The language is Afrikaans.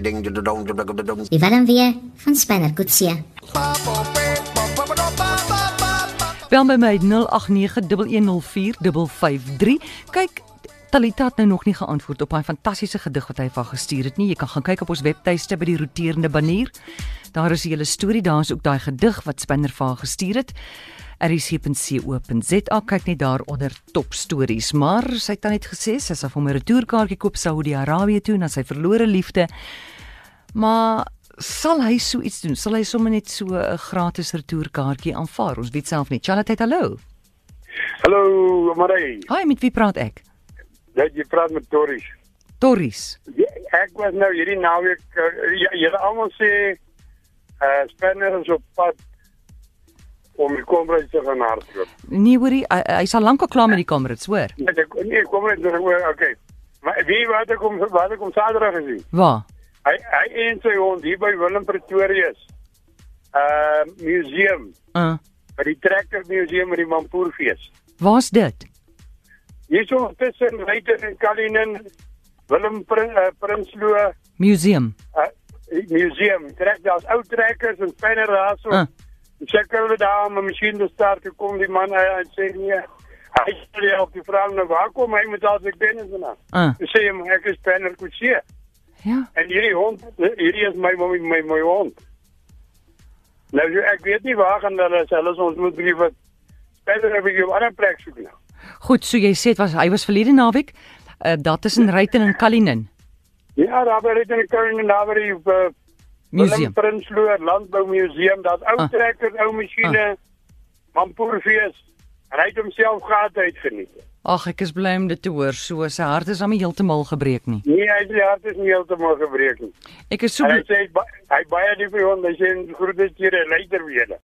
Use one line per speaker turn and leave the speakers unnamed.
Die warm weer van Spanner Kutsia.
Bel by my 0891104553. Kyk Talita het nou nog nie geantwoord op daai fantastiese gedig wat hy vir haar gestuur het nie. Jy kan gaan kyk op ons webtuiste by die roterende banier. Daar is 'n hele storie, daar is ook daai gedig wat Spinner vir haar gestuur het. rc.co.za kyk net daaronder top stories, maar sy het dan net gesê sy sal vir hom 'n retourkaartjie koop Saudi-Arabië toe na sy verlore liefde. Maar sal hy so iets doen? Sal hy sommer net so 'n gratis retourkaartjie aanvaar? Ons weet self nie. Charlotte, hallo.
Hallo, Maree.
Hi, met wie praat ek?
Dat jy praat met Torries.
Torries.
Ja, Ek was nou hierdie naweek eh, ja, julle almal sê uh Spanner is op pad om die Komrades te gaan hardloop.
Nee, hoorie, hy, hy sal lankal klaar met die kamerits, hoor.
Net ek nee, Komrades nog oor. Okay. Maar wie wat ek kom wat ek kom Saterdag gesien.
Waar?
Hy hy en sy hond hier by Willem Pretoria is. Uh museum,
Uh,
by die Trekker Museum met die Mampoerfees.
waar's dit?
Hierso tussen Ryter en Kalinin, Willem Prin, uh, Prinsloo
Museum.
uh, museum. Trek daar's ou trekkers en fynere rasse.
Ah.
Uh. Seker hulle daar om 'n masjien te start toe kom die man uit en sê nee. Hy sê jy op die vraag nou waar kom hy met al sy kennis vandaan?
Uh,
Hy sê hom ek is penner kutsie.
ja.
En hierdie hond hierdie is my my my, my hond. Nou so, ek weet nie waar gaan hulle is. Hulle is ons moet brief wat penner heb ek op 'n ander plek soek nou.
Goed, so jy sê dit was hy was verlede naweek uh daar tussen Ryten en Kalinin
Ja, daar by dit in die Koning naby die uh,
Museum.
Willem Prinsloo Landboumuseum, daar's ou
Ah.
trekkers, ou masjiene, mampoerfees. En hy het homself gehad uitgeniet.
Ag, ek is bly om dit te hoor. So sy hart is hom heeltemal gebreek nie.
Nee, hy se hart is nie heeltemal gebreek nie.
Ek is so
En hy
bly-
sê hy is ba- hy baie lief vir hom, hy sê groete teer en later weer.